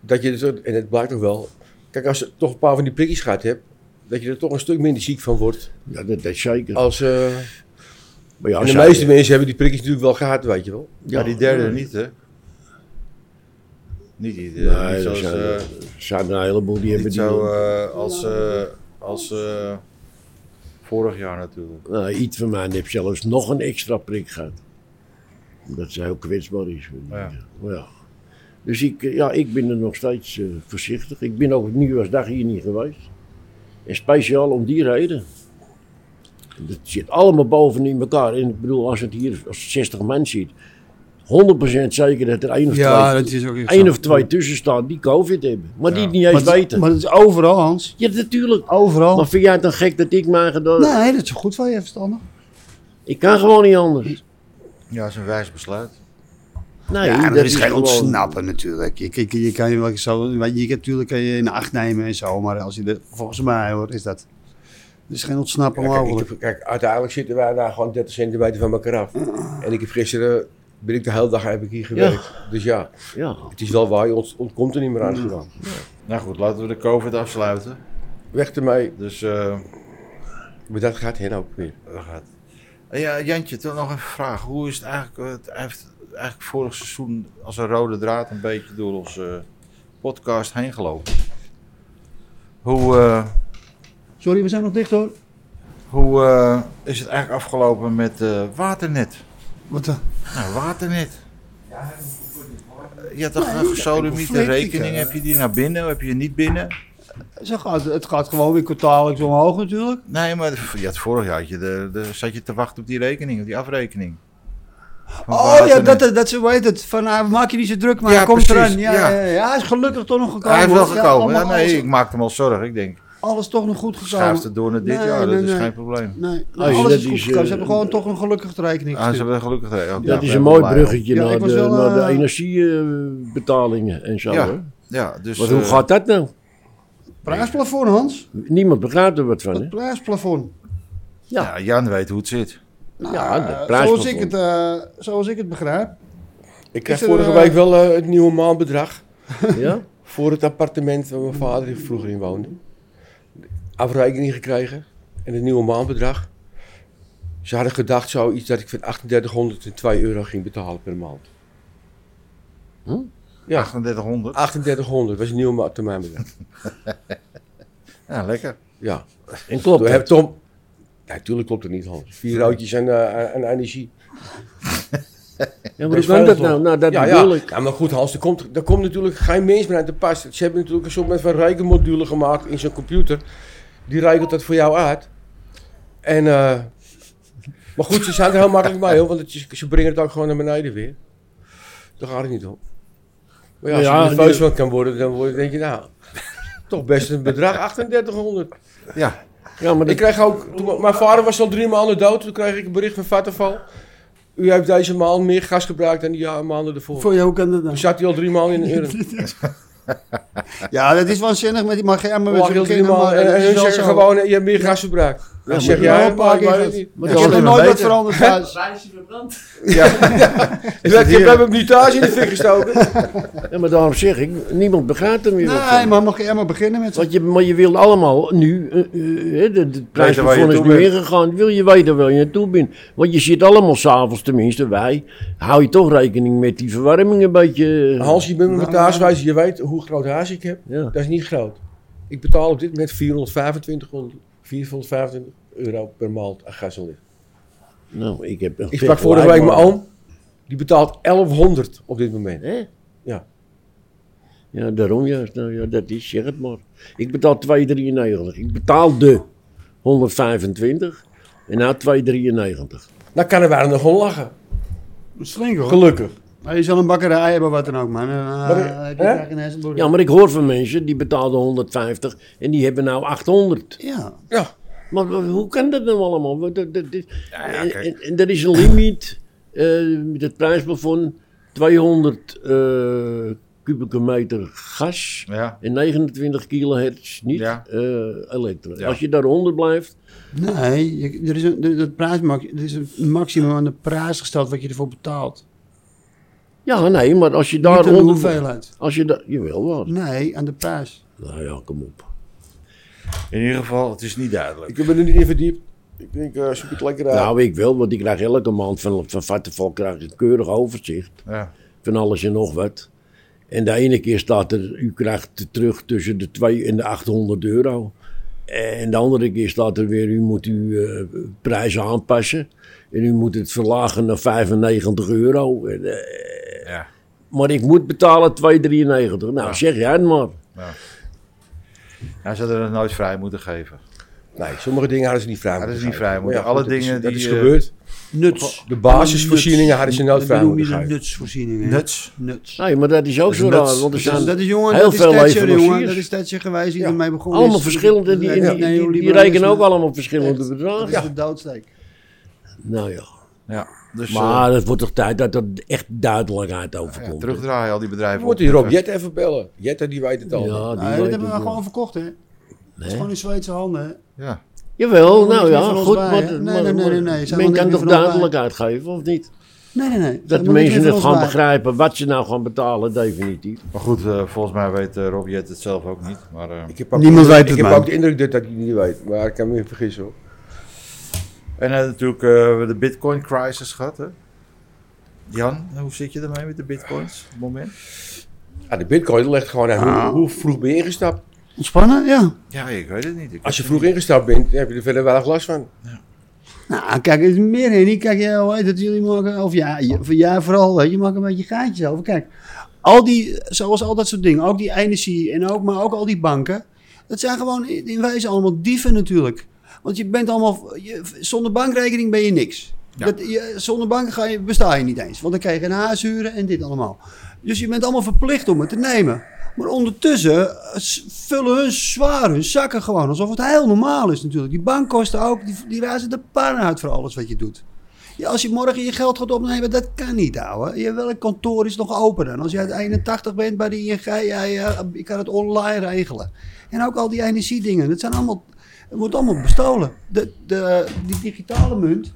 C: dat je, het, en het blijkt ook wel, kijk, als je toch een paar van die prikjes gehad hebt, dat je er toch een stuk minder ziek van wordt.
B: Ja, dat, dat is zeker.
D: Oh,
C: Als, eh,
B: Maar ja,
C: en de
B: zij-
C: meeste mensen hebben die prikjes natuurlijk wel gehad, weet je wel.
D: ja, die derde niet, hè? Niet die
B: Nee,
D: niet
B: er
D: zoals,
B: zijn,
D: eh,
B: er zijn een heleboel die hebben
D: niet
B: die...
D: zo eh, als, eh, als eh, vorig jaar natuurlijk.
B: Nou, iets van mij heeft zelfs nog een extra prik gehad. Omdat ze heel kwetsbaar is.
D: Ja.
B: Maar ja. Dus ik, eh, ja, ik ben er nog steeds eh, voorzichtig. Ik ben ook op nieuwjaarsdag hier niet geweest. En speciaal om die reden. Het zit allemaal boven in elkaar. En ik bedoel, als het hier als 60 man zit, 100% zeker dat er één of
F: Ja,
B: twee,
F: dat is ook echt
B: één
F: zo.
B: of twee tussen staan die COVID hebben. Maar die
D: Ja.
B: het niet eens
F: Maar, het-
B: weten.
F: maar het is overal, Hans.
B: Ja, natuurlijk.
F: Overal.
B: Maar vind jij het dan gek dat ik mij gedaan
F: Nee, dat is goed van je verstandig.
B: Ik kan gewoon niet anders.
D: Ja, dat is een wijs besluit.
B: Nee,
F: Ja, dat, is, geen
B: gewoon-
F: ontsnappen natuurlijk. Je, je, je kan je wel zo, weet je, natuurlijk kan je in acht nemen en zo, maar als je de, volgens mij hoor, is dat. Er is geen ontsnappen
C: Ja, kijk, ik
F: mogelijk.
C: heb- kijk, uiteindelijk zitten wij daar gewoon 30 centimeter van elkaar af. En ik heb gisteren, ben ik de hele dag heb ik hier gewerkt. Dus ja,
B: Ja.
C: het is wel waar, je ont- ontkomt er niet meer aan.
F: Mm.
C: gewoon.
D: Nou goed, laten we de COVID afsluiten.
C: Weg ermee,
D: Dus eh,
C: maar dat gaat hen ook weer.
D: dat gaat. Eh, Ja, Jantje, toch nog even een vraag. Hoe is het eigenlijk? eh, Het heeft eigenlijk vorig seizoen als een rode draad een beetje door onze eh, podcast heen gelopen. Hoe, eh,
F: Sorry, we zijn nog dicht hoor.
D: hoe eh, is het eigenlijk afgelopen met eh, waternet?
F: Wat dan?
D: Nou, waternet. Je had toch een gesodemiete
F: ik weet het,
D: rekening?
F: eh.
D: Heb je die naar binnen? Heb je die niet binnen?
F: Zo gaat, het gaat gewoon weer kwartaallijks omhoog natuurlijk.
D: Nee, maar je had vorig jaar had je de, de, zat je te wachten op die rekening, op die afrekening. Van
F: Oh ja,
D: waternet.
F: dat, dat, dat ze weet het. Van, ah, maak je niet zo druk, maar
D: Ja,
F: hij komt
D: precies,
F: eraan. Ja,
D: ja.
F: ja. ja, hij is gelukkig toch nog gekomen.
D: Hij is wel
F: hoor. Ja,
D: gekomen. Ja,
F: allemaal
D: nee, ik
F: alles,
D: maakte hem al zorgen. Ik denk,
F: alles toch nog goed
D: schuift
F: gekomen.
D: het door naar dit
F: Nee,
D: jaar, dat
F: nee,
D: is
F: nee.
D: geen probleem.
F: Nee,
B: Als je
F: alles
B: dat is,
F: is goed
B: eh,
F: gekomen. Ze hebben gewoon toch een gelukkige rekening
D: Ah, ze
F: gestuurd.
D: hebben er gelukkig twee. Oh,
B: Dat
D: ja,
B: is een mooi
D: blij.
B: bruggetje
F: Ja, ik
B: naar, de,
F: was wel,
B: naar de
F: eh,
B: energiebetalingen en zo.
D: Ja,
B: hè?
D: Ja, dus...
B: Maar hoe
D: eh,
B: gaat dat nou?
F: Prijsplafond, Hans.
B: Niemand begrijpt er wat van. Hè?
F: Het prijsplafond.
D: ja. Jan weet hoe het zit.
B: ja, dat
F: Eh,
B: prijsplafond.
F: zoals, ik het, eh, zoals ik het begrijp.
C: Ik kreeg
F: Is er,
C: vorige
F: eh,
C: week wel eh, het nieuwe maandbedrag.
B: Ja?
C: voor het appartement waar mijn vader vroeger in woonde. Afrekening gekregen en het nieuwe maandbedrag. Ze hadden gedacht zoiets dat ik van 3802 euro ging betalen per maand. Ja,
D: 3800.
C: 3800 was een nieuw ma- termijnbedrag.
D: Ja, lekker.
C: Ja.
B: En klopt
C: Toen
B: dat?
C: heb Tom... Natuurlijk klopt het niet, Hans. Vier roodjes en, eh, en energie.
B: Ja, maar hoe kan dat nou? Nou, dat
C: ja,
B: bedoel
C: ja.
B: ik.
C: Ja, maar goed, Hans, er komt, er komt natuurlijk geen mens meer uit de pas. Ze hebben natuurlijk een soort met van rekenmodule gemaakt in zo'n computer. Die regelt dat voor jou uit. En, eh, maar goed, ze zijn er heel makkelijk mee, hoor, want het is- ze brengen het ook gewoon naar beneden weer. Daar gaat het niet om. Maar ja, als je
B: Ja,
C: er nerveus
B: die-
C: van kan worden, dan word, denk je, nou, toch best een bedrag, 3800.
D: Ja,
B: Ja, maar
C: Ik
B: dat,
C: kreeg ook, toen- mijn vader was al drie maanden dood, toen kreeg ik een bericht van Vattenfall. U heeft deze maand meer gas gebruikt dan die ja- maanden ervoor.
F: Voor jou, hoe kan dat nou?
C: Toen zat hij al drie maal in de urn.
A: Ja, dat is waanzinnig met die Magermen.
C: Lag heel drie maal.
A: eh,
C: En, en hun eh, zeggen gewoon, je hebt meer gas verbruikt. Dan
B: maar
C: zeg
B: die
C: jij,
A: hebben wel een
C: maar ik
A: paar
C: weet het
A: keer
C: niet.
B: maar
A: Ik
B: dat-
A: heb
D: Ja,
A: er nooit
D: beter.
A: wat veranderd thuis.
E: Waar is je verbrand?
C: Ik heb ik heb hem niet thuis in de fik gestoken.
B: ja, maar daarom zeg ik, niemand begrijpt er meer wat van.
A: Nee, maar mag jij maar beginnen met
B: Want je, maar je wil allemaal nu, eh, eh, eh, de, de prijs
D: Weten waar je
B: daarvan is
D: toe
B: nu
D: bent.
B: ingegaan, wil je weten waar je naartoe bent. Want je zit allemaal s'avonds, tenminste wij, hou je toch rekening met die verwarming een beetje. eh,
C: Hans, je bent met mijn thuiswijze, je weet hoe groot huis ik heb.
B: Ja.
C: Dat is niet groot. Ik betaal op dit moment 425, 425 euro per maand aan gas en licht.
B: Nou, ik heb een
C: Ik sprak vorige week mijn
B: vergelijkbare-
C: oom. Die betaalt 1100 op dit moment.
B: Hè?
C: Ja.
B: Ja, daarom juist. Nou ja, dat is, zeg het maar. Ik betaal 2,93. Ik betaalde 125 en nou 2,93.
C: Dan kan er waar nog om lachen.
F: Slink hoor.
C: Gelukkig.
F: Maar je zal een bakkerij hebben, wat dan ook, man. En, eh,
C: Maar,
F: heb je
C: hè?
F: daar geen hersenbloeding.
B: Ja, maar ik hoor van mensen die betaalden 150 en die hebben nou 800.
F: Ja.
C: Ja.
B: Maar w- hoe kan dat nou allemaal? Want Dat, dat, dat- en,
D: kijk.
B: en- en er is een limiet eh, met het prijsplafond 200 eh, kubieke meter gas
D: ja.
B: en 29 kilohertz niet
D: Ja.
B: eh elektro.
D: Ja.
B: Als je daaronder blijft,
F: Nee, je- er is, een, er, dat prijsmax, er is een maximum aan de prijs gesteld wat je ervoor betaalt.
B: ja nee, maar als je
F: Niet aan de
B: daaronder...
F: hoeveelheid.
B: Als je daar... Jawel, waar.
F: Nee, aan de prijs.
B: Nou ja, kom op.
D: In ieder geval, het is niet duidelijk.
C: Ik heb me er niet in verdiept. Ik denk, eh zoek het lekker uit.
B: Nou, ik wel, want ik krijg elke maand van, van Vattenfall krijg ik een keurig overzicht.
D: Ja.
B: van alles en nog wat. En de ene keer staat er, u krijgt terug tussen de 2 en de 800 euro. En de andere keer staat er weer, u moet uw eh, prijzen aanpassen. En u moet het verlagen naar 95 euro. En, eh,
D: Ja.
B: maar ik moet betalen 2,93. Nou, zeg jij het maar.
D: Hij zou er nooit vrij moeten geven.
C: Nee, sommige dingen hadden ze niet vrij.
D: Ja, dat is
C: moeten
D: niet
C: geven.
D: vrij moeten.
C: Maar
D: Alle
C: dat is-
D: dingen
C: dat
D: die,
C: is
D: eh,
C: gebeurd.
F: Nuts.
C: De basisvoorzieningen hadden ze nooit vrij
F: noem je
C: moeten
F: de
C: geven.
F: nutsvoorzieningen.
D: Nuts.
F: Nuts.
B: Nee, maar dat is ook
D: is
B: zo
D: nuts.
B: raar. Want er
D: Dat
B: zijn
F: Dat is jongen,
B: heel
F: dat
B: veel
F: is Thatcher, jongen. Dat
B: leveranciers.
F: is Thatcher geweest die
C: Ja.
F: ermee begonnen
B: allemaal
F: is.
B: verschillende. Die, die,
F: Dat is
B: die, die
F: neoliberalisme.
B: rekenen ook allemaal verschillende
F: Dat
B: bedragen.
F: is de doodsteek.
B: Nou ja.
D: Ja, dus eh,
B: Maar het wordt toch tijd dat er echt duidelijkheid over
D: ja,
B: komt.
D: terugdraaien al die bedrijven.
C: Je moet
D: op.
C: die Rob Jette even bellen. Jette die weet het al.
B: Ja, die
F: Nee,
B: weet
F: dat hebben
B: het
F: we
B: wel.
F: gewoon verkocht, hè. Het is gewoon in Zweedse handen, hè.
D: Ja.
B: Jawel,
F: Daar moet
B: nou
F: ik niet
B: ja,
F: van ons
B: goed.
F: bij,
B: maar,
F: hè?
B: maar-
F: Nee, nee, nee, nee, nee,
B: maar
F: zijn we
B: Men
F: niet
B: kan
F: meer
B: toch
F: van ons bij.
B: duidelijkheid geven, of niet?
F: Nee, nee, nee.
B: Dat de
F: moet niet
B: mensen
F: van
B: het
F: ons
B: gaan
F: bij.
B: begrijpen wat ze nou gaan betalen, definitief.
D: Maar goed, eh, volgens mij weet eh, Rob Jet het zelf ook niet. Maar eh,
C: Ik heb ook,
A: Niemand weet het,
C: Ik heb
A: man.
C: ook de indruk dat, dat hij het niet weet. Maar ik kan me vergissen hoor.
D: En eh, natuurlijk eh, de bitcoin crisis gehad, hè? Jan, hoe zit je ermee met de bitcoins op het moment?
C: Ja, Ah, de bitcoin legt gewoon aan hoe, hoe vroeg ben je ingestapt.
F: Ontspannen, ja.
D: Ja, ik weet het niet. Ik
C: Als je vroeg ingestapt bent, heb je er verder weinig last van.
F: Nou, kijk, het is meer in. Kijk, jij hoe heet dat jullie maken, of ja, je- of jij vooral, weet je, maakt een beetje gaatjes over. Kijk, al die, zoals al dat soort dingen, ook die energie en ook, maar ook al die banken, dat zijn gewoon in, in wezen allemaal dieven natuurlijk. Want je bent allemaal, je, zonder bankrekening ben je niks. Dat, je, zonder bank ga je, besta je niet eens, want dan krijg je een huis huren en dit allemaal. Dus je bent allemaal verplicht om het te nemen. Maar ondertussen eh, s- vullen hun zwaar hun zakken gewoon. Alsof het heel normaal is natuurlijk. Die bankkosten ook, die, die razen de pan uit voor alles wat je doet. Ja, als je morgen je geld gaat opnemen, dat kan niet, ouwe. Je, welk kantoor is nog open dan? Als je uit 81 bent bij de ING, ja, ja, eh, je kan het online regelen. En ook al die energiedingen, dat zijn allemaal, het wordt allemaal bestolen. De, de, die digitale munt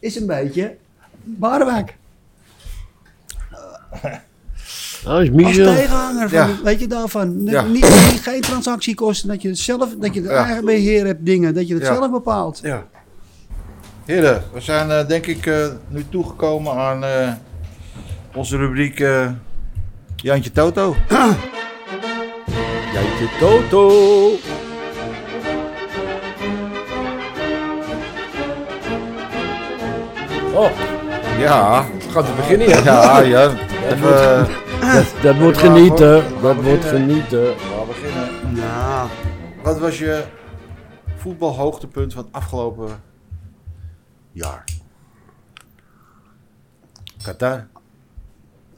F: is een beetje Barwijk.
B: Nou, is
F: Als
B: Michel.
F: tegenhanger van,
D: Ja.
F: weet je daarvan.
D: Ja.
F: Niet, niet- geen transactiekosten, dat je het zelf, dat je het
D: Ja.
F: eigen beheer hebt dingen, dat je het
D: Ja.
F: zelf bepaalt.
D: Ja. Heren, we zijn eh, denk ik eh, nu toegekomen aan eh, onze rubriek eh, Jantje Toto.
C: Jantje Toto. Oh,
D: Ja,
C: gaat het beginnen, ja?
D: ja, ja. Even, eh,
B: Dat, dat wordt
D: Ja,
B: genieten,
D: hoor.
B: dat
D: Ja,
B: wordt
D: beginnen.
B: genieten.
D: we gaan beginnen.
F: Nou,
D: Wat was je voetbalhoogtepunt van het afgelopen jaar? Qatar.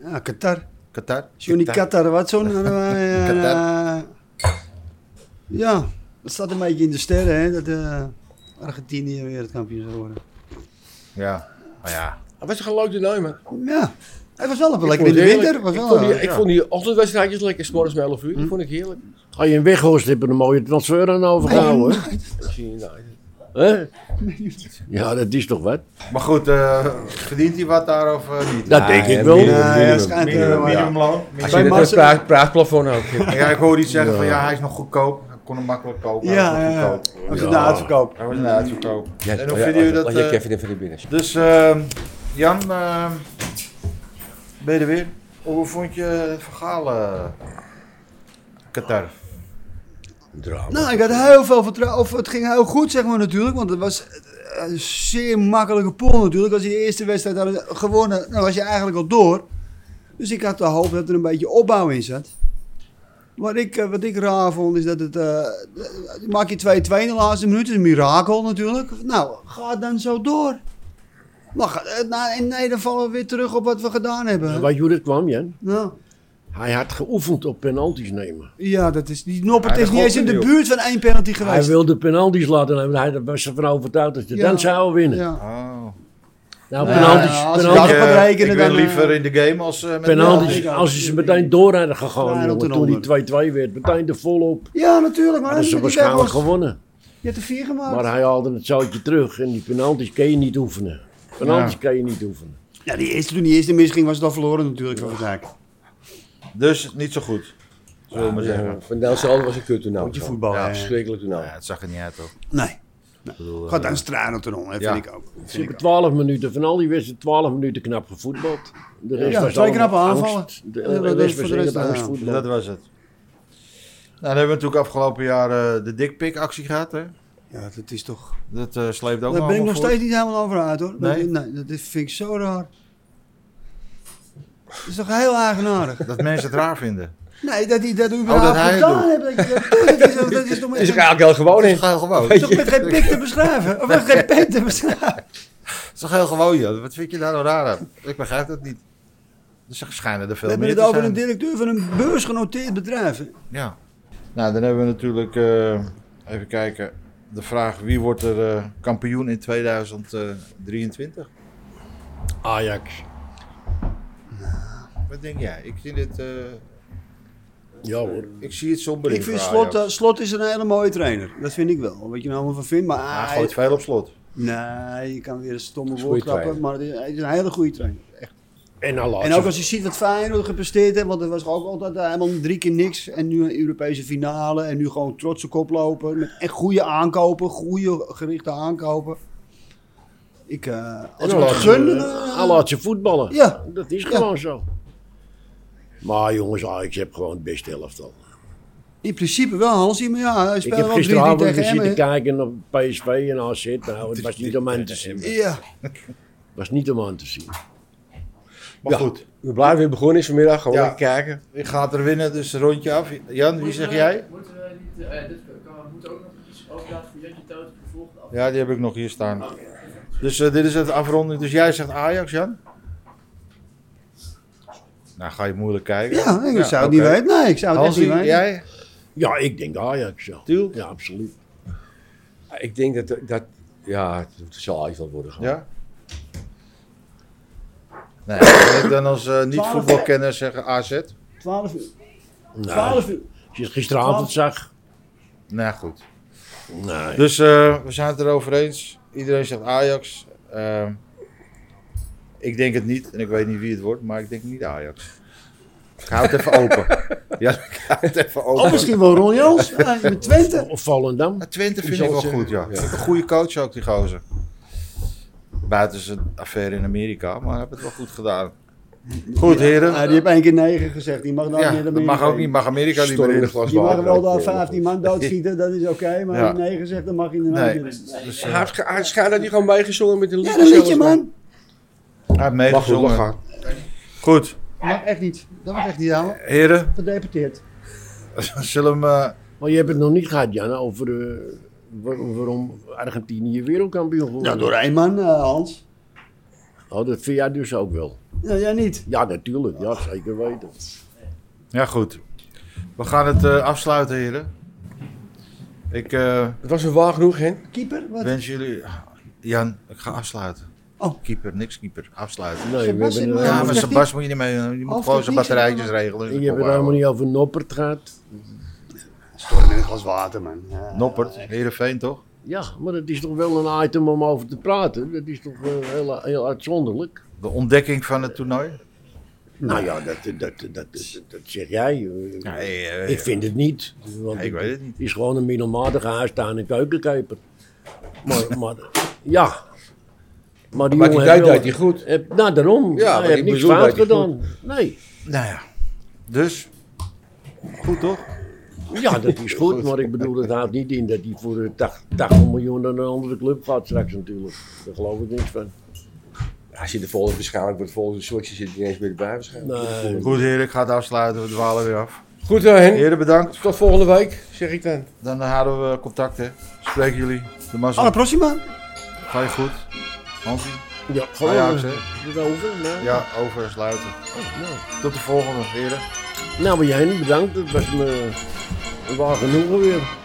F: ja, Qatar.
D: Qatar.
F: Johnny Qatar, wat zo'n... eh,
D: Qatar.
F: ja, dat staat een beetje in de sterren, hè. Dat eh, Argentinië wereldkampioen zou worden.
D: Ja, maar ja.
C: Dat was toch een leuk toernooi, man?
F: Ja, het was wel even
C: Ik
F: lekker
C: vond
F: in
C: het
F: de
C: heerlijk.
F: winter. Was
C: Ik
F: wel eh,
C: vond die,
F: een-
C: ik vond die ochtendwedstrijdjes lekker, s'morgens om 11 uur. Die vond ik heerlijk.
B: Ga je in Weghorst hebben een mooie transfer aan overgehouden. hè?
C: Dat zie je nou.
B: Hè? Ja, dat is toch wat?
D: Maar goed, eh, verdient hij wat daar of eh, niet?
B: Dat denk ik
D: hè,
B: wel.
F: Nee,
B: minimum,
F: hij schijnt, eh,
D: Minimum,
F: maar-
D: minimumloon.
C: Als
D: Minimum.
C: je
F: Bij
C: net
F: Marcel-
C: een praat, praatplafond houdt.
D: Ja, ik hoor iets zeggen van ja, hij is nog goedkoop. Ik kon hem makkelijk kopen. hij
F: Ja,
D: was nog
F: ja, ja.
D: goedkoop.
F: Als het nou de uitverkoop.
D: Hij was inderdaad goedkoop. En hoe vinden jullie
C: je
D: dat?
C: je
D: eh,
C: Kevin even naar binnen.
D: dus ehm, Jan, ehm, ben je er weer? Hoe vond je het verhaal eh, Qatar?
B: Drama.
F: Nou, ik had heel veel vertrouwen. Of het ging heel goed, zeg maar natuurlijk. Want het was eh, een zeer makkelijke pool natuurlijk. Als je de eerste wedstrijd had gewonnen, dan was je eigenlijk al door. Dus ik had de hoop dat er een beetje opbouw in zat. Wat ik, eh, wat ik raar vond is dat het. eh, eh, maak je 2-2 in de laatste minuut, is een mirakel natuurlijk. Nou, ga dan zo door. Maar ga- eh, nou, en nee, dan vallen we weer terug op wat we gedaan hebben.
B: Weet je hoe dat kwam, Jan?
F: Nou,
B: Hij had geoefend op penalties nemen.
F: ja, dat is. Die Noppert
D: Hij
F: is niet eens in
D: gokt
F: de
D: niet,
F: buurt van één penalty
B: Hij
F: geweest.
B: wilde penalties laten nemen. Hij was ervan overtuigd dat je
F: Ja.
B: dan zou winnen.
F: Ja.
D: Oh.
B: Nou,
F: Ja,
B: penalties,
F: ja, als je
B: penalties,
D: eh,
F: dat- gaat rekenen,
D: ik ben
F: dan, eh,
D: liever in de game als eh, met
B: penalties.
F: Ja,
B: als hij ze meteen door hadden gegaan,
F: Ja,
B: jongen,
F: dat
B: toen
F: eronder.
B: die 2-2 werd, meteen de volop.
F: Ja, natuurlijk, maar
B: Hadden ze
F: die
B: waarschijnlijk
F: werd wel-
B: gewonnen.
F: Je hebt er vier gemaakt.
B: Maar hij haalde het zoutje terug en die penalties kan je niet oefenen. Penalties
D: Ja.
B: kan je niet oefenen.
F: ja, die eerste, toen die eerste misging, was het al verloren natuurlijk van Verzaak.
D: Dus niet zo goed, zullen we maar zeggen.
C: Van Nelson was een kut toernooi.
F: Moet je voetballen,
C: Ja,
F: hè?
C: verschrikkelijk
D: Ja,
C: toernooi.
D: het zag er niet uit, toch?
F: Nee.
D: Ik bedoel, eh,
F: Gaat dan stralen ten onder,
D: Ja.
F: vind ik ook.
B: Ze hebben 12 minuten, van al die wedstrijden 12 minuten knap gevoetbald. De rest
F: Ja,
B: was
F: twee
B: allemaal
F: knappe
B: angst.
F: aanvallen.
B: De,
F: Ja, dat
B: de
F: is
B: rest
F: voor
B: was
F: de rest,
B: echt
F: ja.
D: Dus dat
B: angstvoetbal.
D: was het. Nou, dan hebben we natuurlijk afgelopen jaar eh, de dikpik actie gehad, hè?
F: Ja, dat is toch...
D: Dat eh, sleept ook
F: Daar ben ik
D: allemaal
F: nog
D: voor.
F: steeds niet helemaal over uit, hoor.
D: Nee?
F: Dat, nee, dat is- vind ik zo raar. Dat is toch heel eigenaardig?
D: Dat mensen het raar vinden.
F: Nee, dat hij dat
D: Oh,
F: überhaupt
D: dat hij het
F: gedaan heeft. Dat, je dat, doet, dat, is, dat is toch
C: Het
F: met,
C: is ook eigenlijk heel gewoon
D: Het is
C: in.
D: gewoon gewoon.
F: dat is toch met geen pik te beschrijven? Of met geen pik te beschrijven?
D: Het is toch heel gewoon, joh. Wat vind je daar nou raar aan? Ik begrijp dat niet. Er zijn- schijnen er
F: We
D: veel
F: hebben
D: meer
F: het
D: te
F: over een
D: zijn.
F: directeur van een beursgenoteerd bedrijf. hè?
D: Ja. Nou, dan hebben we natuurlijk... eh, even kijken. De vraag, wie wordt er eh, kampioen in eh, 2023?
B: Ajax.
D: Wat denk jij? Ik zie, dit, eh,
B: Ja hoor.
D: ik zie het somber in
F: Ik vind
D: voor
F: Slot,
D: Ajax.
F: eh, Slot is een hele mooie trainer. Dat vind ik wel. Wat je nou allemaal van vindt. Maar
D: Hij
F: hij,
D: gooit veel op slot.
F: nee, je kan weer een stomme
C: een
F: woord
C: goede
F: trappen. Maar het is- hij is een hele goede trainer.
B: Oh, En dan laat
F: En ook
B: ze-
F: als je ziet wat Feyenoord gepresteerd heeft. Want dat was ook altijd eh, helemaal drie keer niks. En nu een Europese finale. En nu gewoon trotse koploper. Met echt goede aankopen. Goede gerichte aankopen. Ik, eh
B: En
F: als ik
B: dan
F: het
B: laat ze-
F: gun...
B: eh,
F: eh,
B: hij laat ze voetballen.
F: Ja.
B: Dat is
F: Ja.
B: gewoon zo. Maar jongens, Ajax heeft gewoon het beste elftal.
F: in principe wel, Hansie. Maar ja, hij
B: Ik
F: speelt
B: heb
F: wel 3-3 tegen
B: gisteravond weer
F: Emmen,
B: zitten
F: hè?
B: kijken op PSV en AZ. Nou, het was niet om aan te zien.
F: Ja.
B: was niet om aan te zien.
D: Maar
C: Ja.
D: goed,
C: We blijven weer begonnen is vanmiddag. Gewoon
D: Ja.
C: lekker kijken.
D: ik ga het er winnen, dus een rondje af. Jan, wie
E: Moeten
D: zeg
E: we-
D: jij?
E: Moeten we niet, eh, dit kan, we moeten ook nog iets overlaten voor Jantje Toot voor de volgende aflevering.
D: Ja, die heb ik nog hier staan. Dus eh, dit is het afronding. Dus jij zegt Ajax, Jan? Nou, ga je moeilijk kijken.
F: Ja, ik
D: Ja,
F: zou het
D: oké.
F: niet weten. Nee, ik zou het echt
D: Hansie,
F: niet weten.
D: jij?
B: Ja, ik denk Ajax. Ja,
D: Tiel?
B: ja absoluut.
C: Ik denk dat, dat ja, het zal Ajax wel worden. Gewoon.
D: Ja? Nee, wil ik dan als eh, niet-voetbalkenner zeggen AZ?
F: 12 uur.
B: Nou,
F: 12 uur.
B: als je het gisteravond zag. nou,
D: Nou, goed.
B: Nee.
D: Dus eh, we zijn het erover eens. Iedereen zegt Ajax. Ehm, ik denk het niet en ik weet niet wie het wordt, maar ik denk niet Ajax. Ik hou het even open. Ja, ik hou het even open.
F: Oh, misschien wel Ron Jans eh, met Twente.
B: Of Volendam.
D: Maar Twente
C: Die
D: vind ik
C: zal
D: wel
C: zeggen,
D: goed, ja.
C: ja.
D: Vind ik Een goede coach ook, die gozer. buiten zijn affaire in Amerika, maar hebben het wel goed gedaan. Goed, heren.
F: Ah, die heeft één keer negen gezegd. Die mag dan
D: Ja,
F: meer
D: dat mag ook niet, mag Amerika niet meer in.
F: Je mag wel eh, daar 15 man doodschieten, dat is oké. maar
D: Ja.
F: als je negen zegt, dan mag je inderdaad
D: Nee.
F: niet.
D: Dus, eh,
C: Hij heeft ge- hij heeft schijnbaar niet gewoon meegezongen met een liedje.
F: Ja, dat liedje,
C: zelfs,
F: man.
D: hij heeft
C: Mag goed, mag
D: meegezongen.
C: gaan.
D: Goed,
F: mag echt niet. Dat mag echt niet, houden.
D: heren,
F: Gedeputeerd.
D: zullen we hem... eh,
B: Maar je hebt het nog niet gehad, Jan, over eh, waar- waarom Argentinië wereldkampioen geworden
F: Ja, door één man, eh, Hans.
B: Oh, dat vind jij dus ook wel.
F: Ja, Nou, jij niet.
B: Ja, natuurlijk. Ja, zeker weten.
D: Ja, goed. We gaan het eh, afsluiten, heren. Ik eh,
C: Het was een waar genoeg, hè?
F: Keeper? Wat?
D: wens jullie... Jan, ik ga afsluiten.
F: Oh.
D: Keeper, niks keeper. Afsluiten.
B: Nee, we hebben,
F: Sebastian,
B: eh,
F: Ja,
D: Ja,
F: maar
D: maar
F: zegt
D: Sebas moet je niet mee. Je moet gewoon
F: Half
D: zijn
F: techniek zit
D: batterijtjes
F: er wel.
D: regelen.
B: je hebt het helemaal niet over Noppert gehad.
F: Stort in een glas water, man. Ja.
D: Noppert, Heerenveen toch?
B: Ja, maar het is toch wel een item om over te praten. Dat is toch eh, heel, heel uitzonderlijk.
D: De ontdekking van het toernooi?
B: Nou ja, dat, dat, dat, dat, dat zeg jij.
D: Ja, eh,
B: Ik vind het niet. Want
D: Ik weet het niet.
B: is gewoon een middelmatige huistuin- en keukenkeper. Maar, maar ja. Maar die
C: Maar die
B: jongen
C: tijd
B: heeft wel-
C: deed hij goed.
B: Heb- nou, daarom.
C: Ja, maar
B: hij heeft
C: ik
B: niks
C: bedoel,
B: fout
C: deed hij
B: gedaan. Nee.
D: Nou ja. Dus, goed toch?
B: Ja, dat is goed, maar ik bedoel, het houdt niet in dat hij voor eh, 80 80 miljoen naar een andere club gaat straks natuurlijk. Daar geloof ik niks van.
C: Hij zit er volgende waarschijnlijk, wordt volgende selectie zit hij ineens weer erbij waarschijnlijk.
B: Nee.
D: Goed heren, ik ga het afsluiten. We dwalen weer af.
C: Goed dan, Hen.
D: Heren, bedankt.
C: Tot volgende week, zeg ik dan.
D: Dan houden we contact hè. Spreken jullie. De
F: Alle
D: mazzel.
F: proxima.
D: Ga je goed? Hansie?
C: Nou
B: Ja,
D: Ajax,
B: gewoon.
D: hè?
B: eh, Erover, nou.
D: Ja, over en sluiten. Tot de volgende heren.
B: Nou, maar jij bedankt. Het was me waar genoegen weer.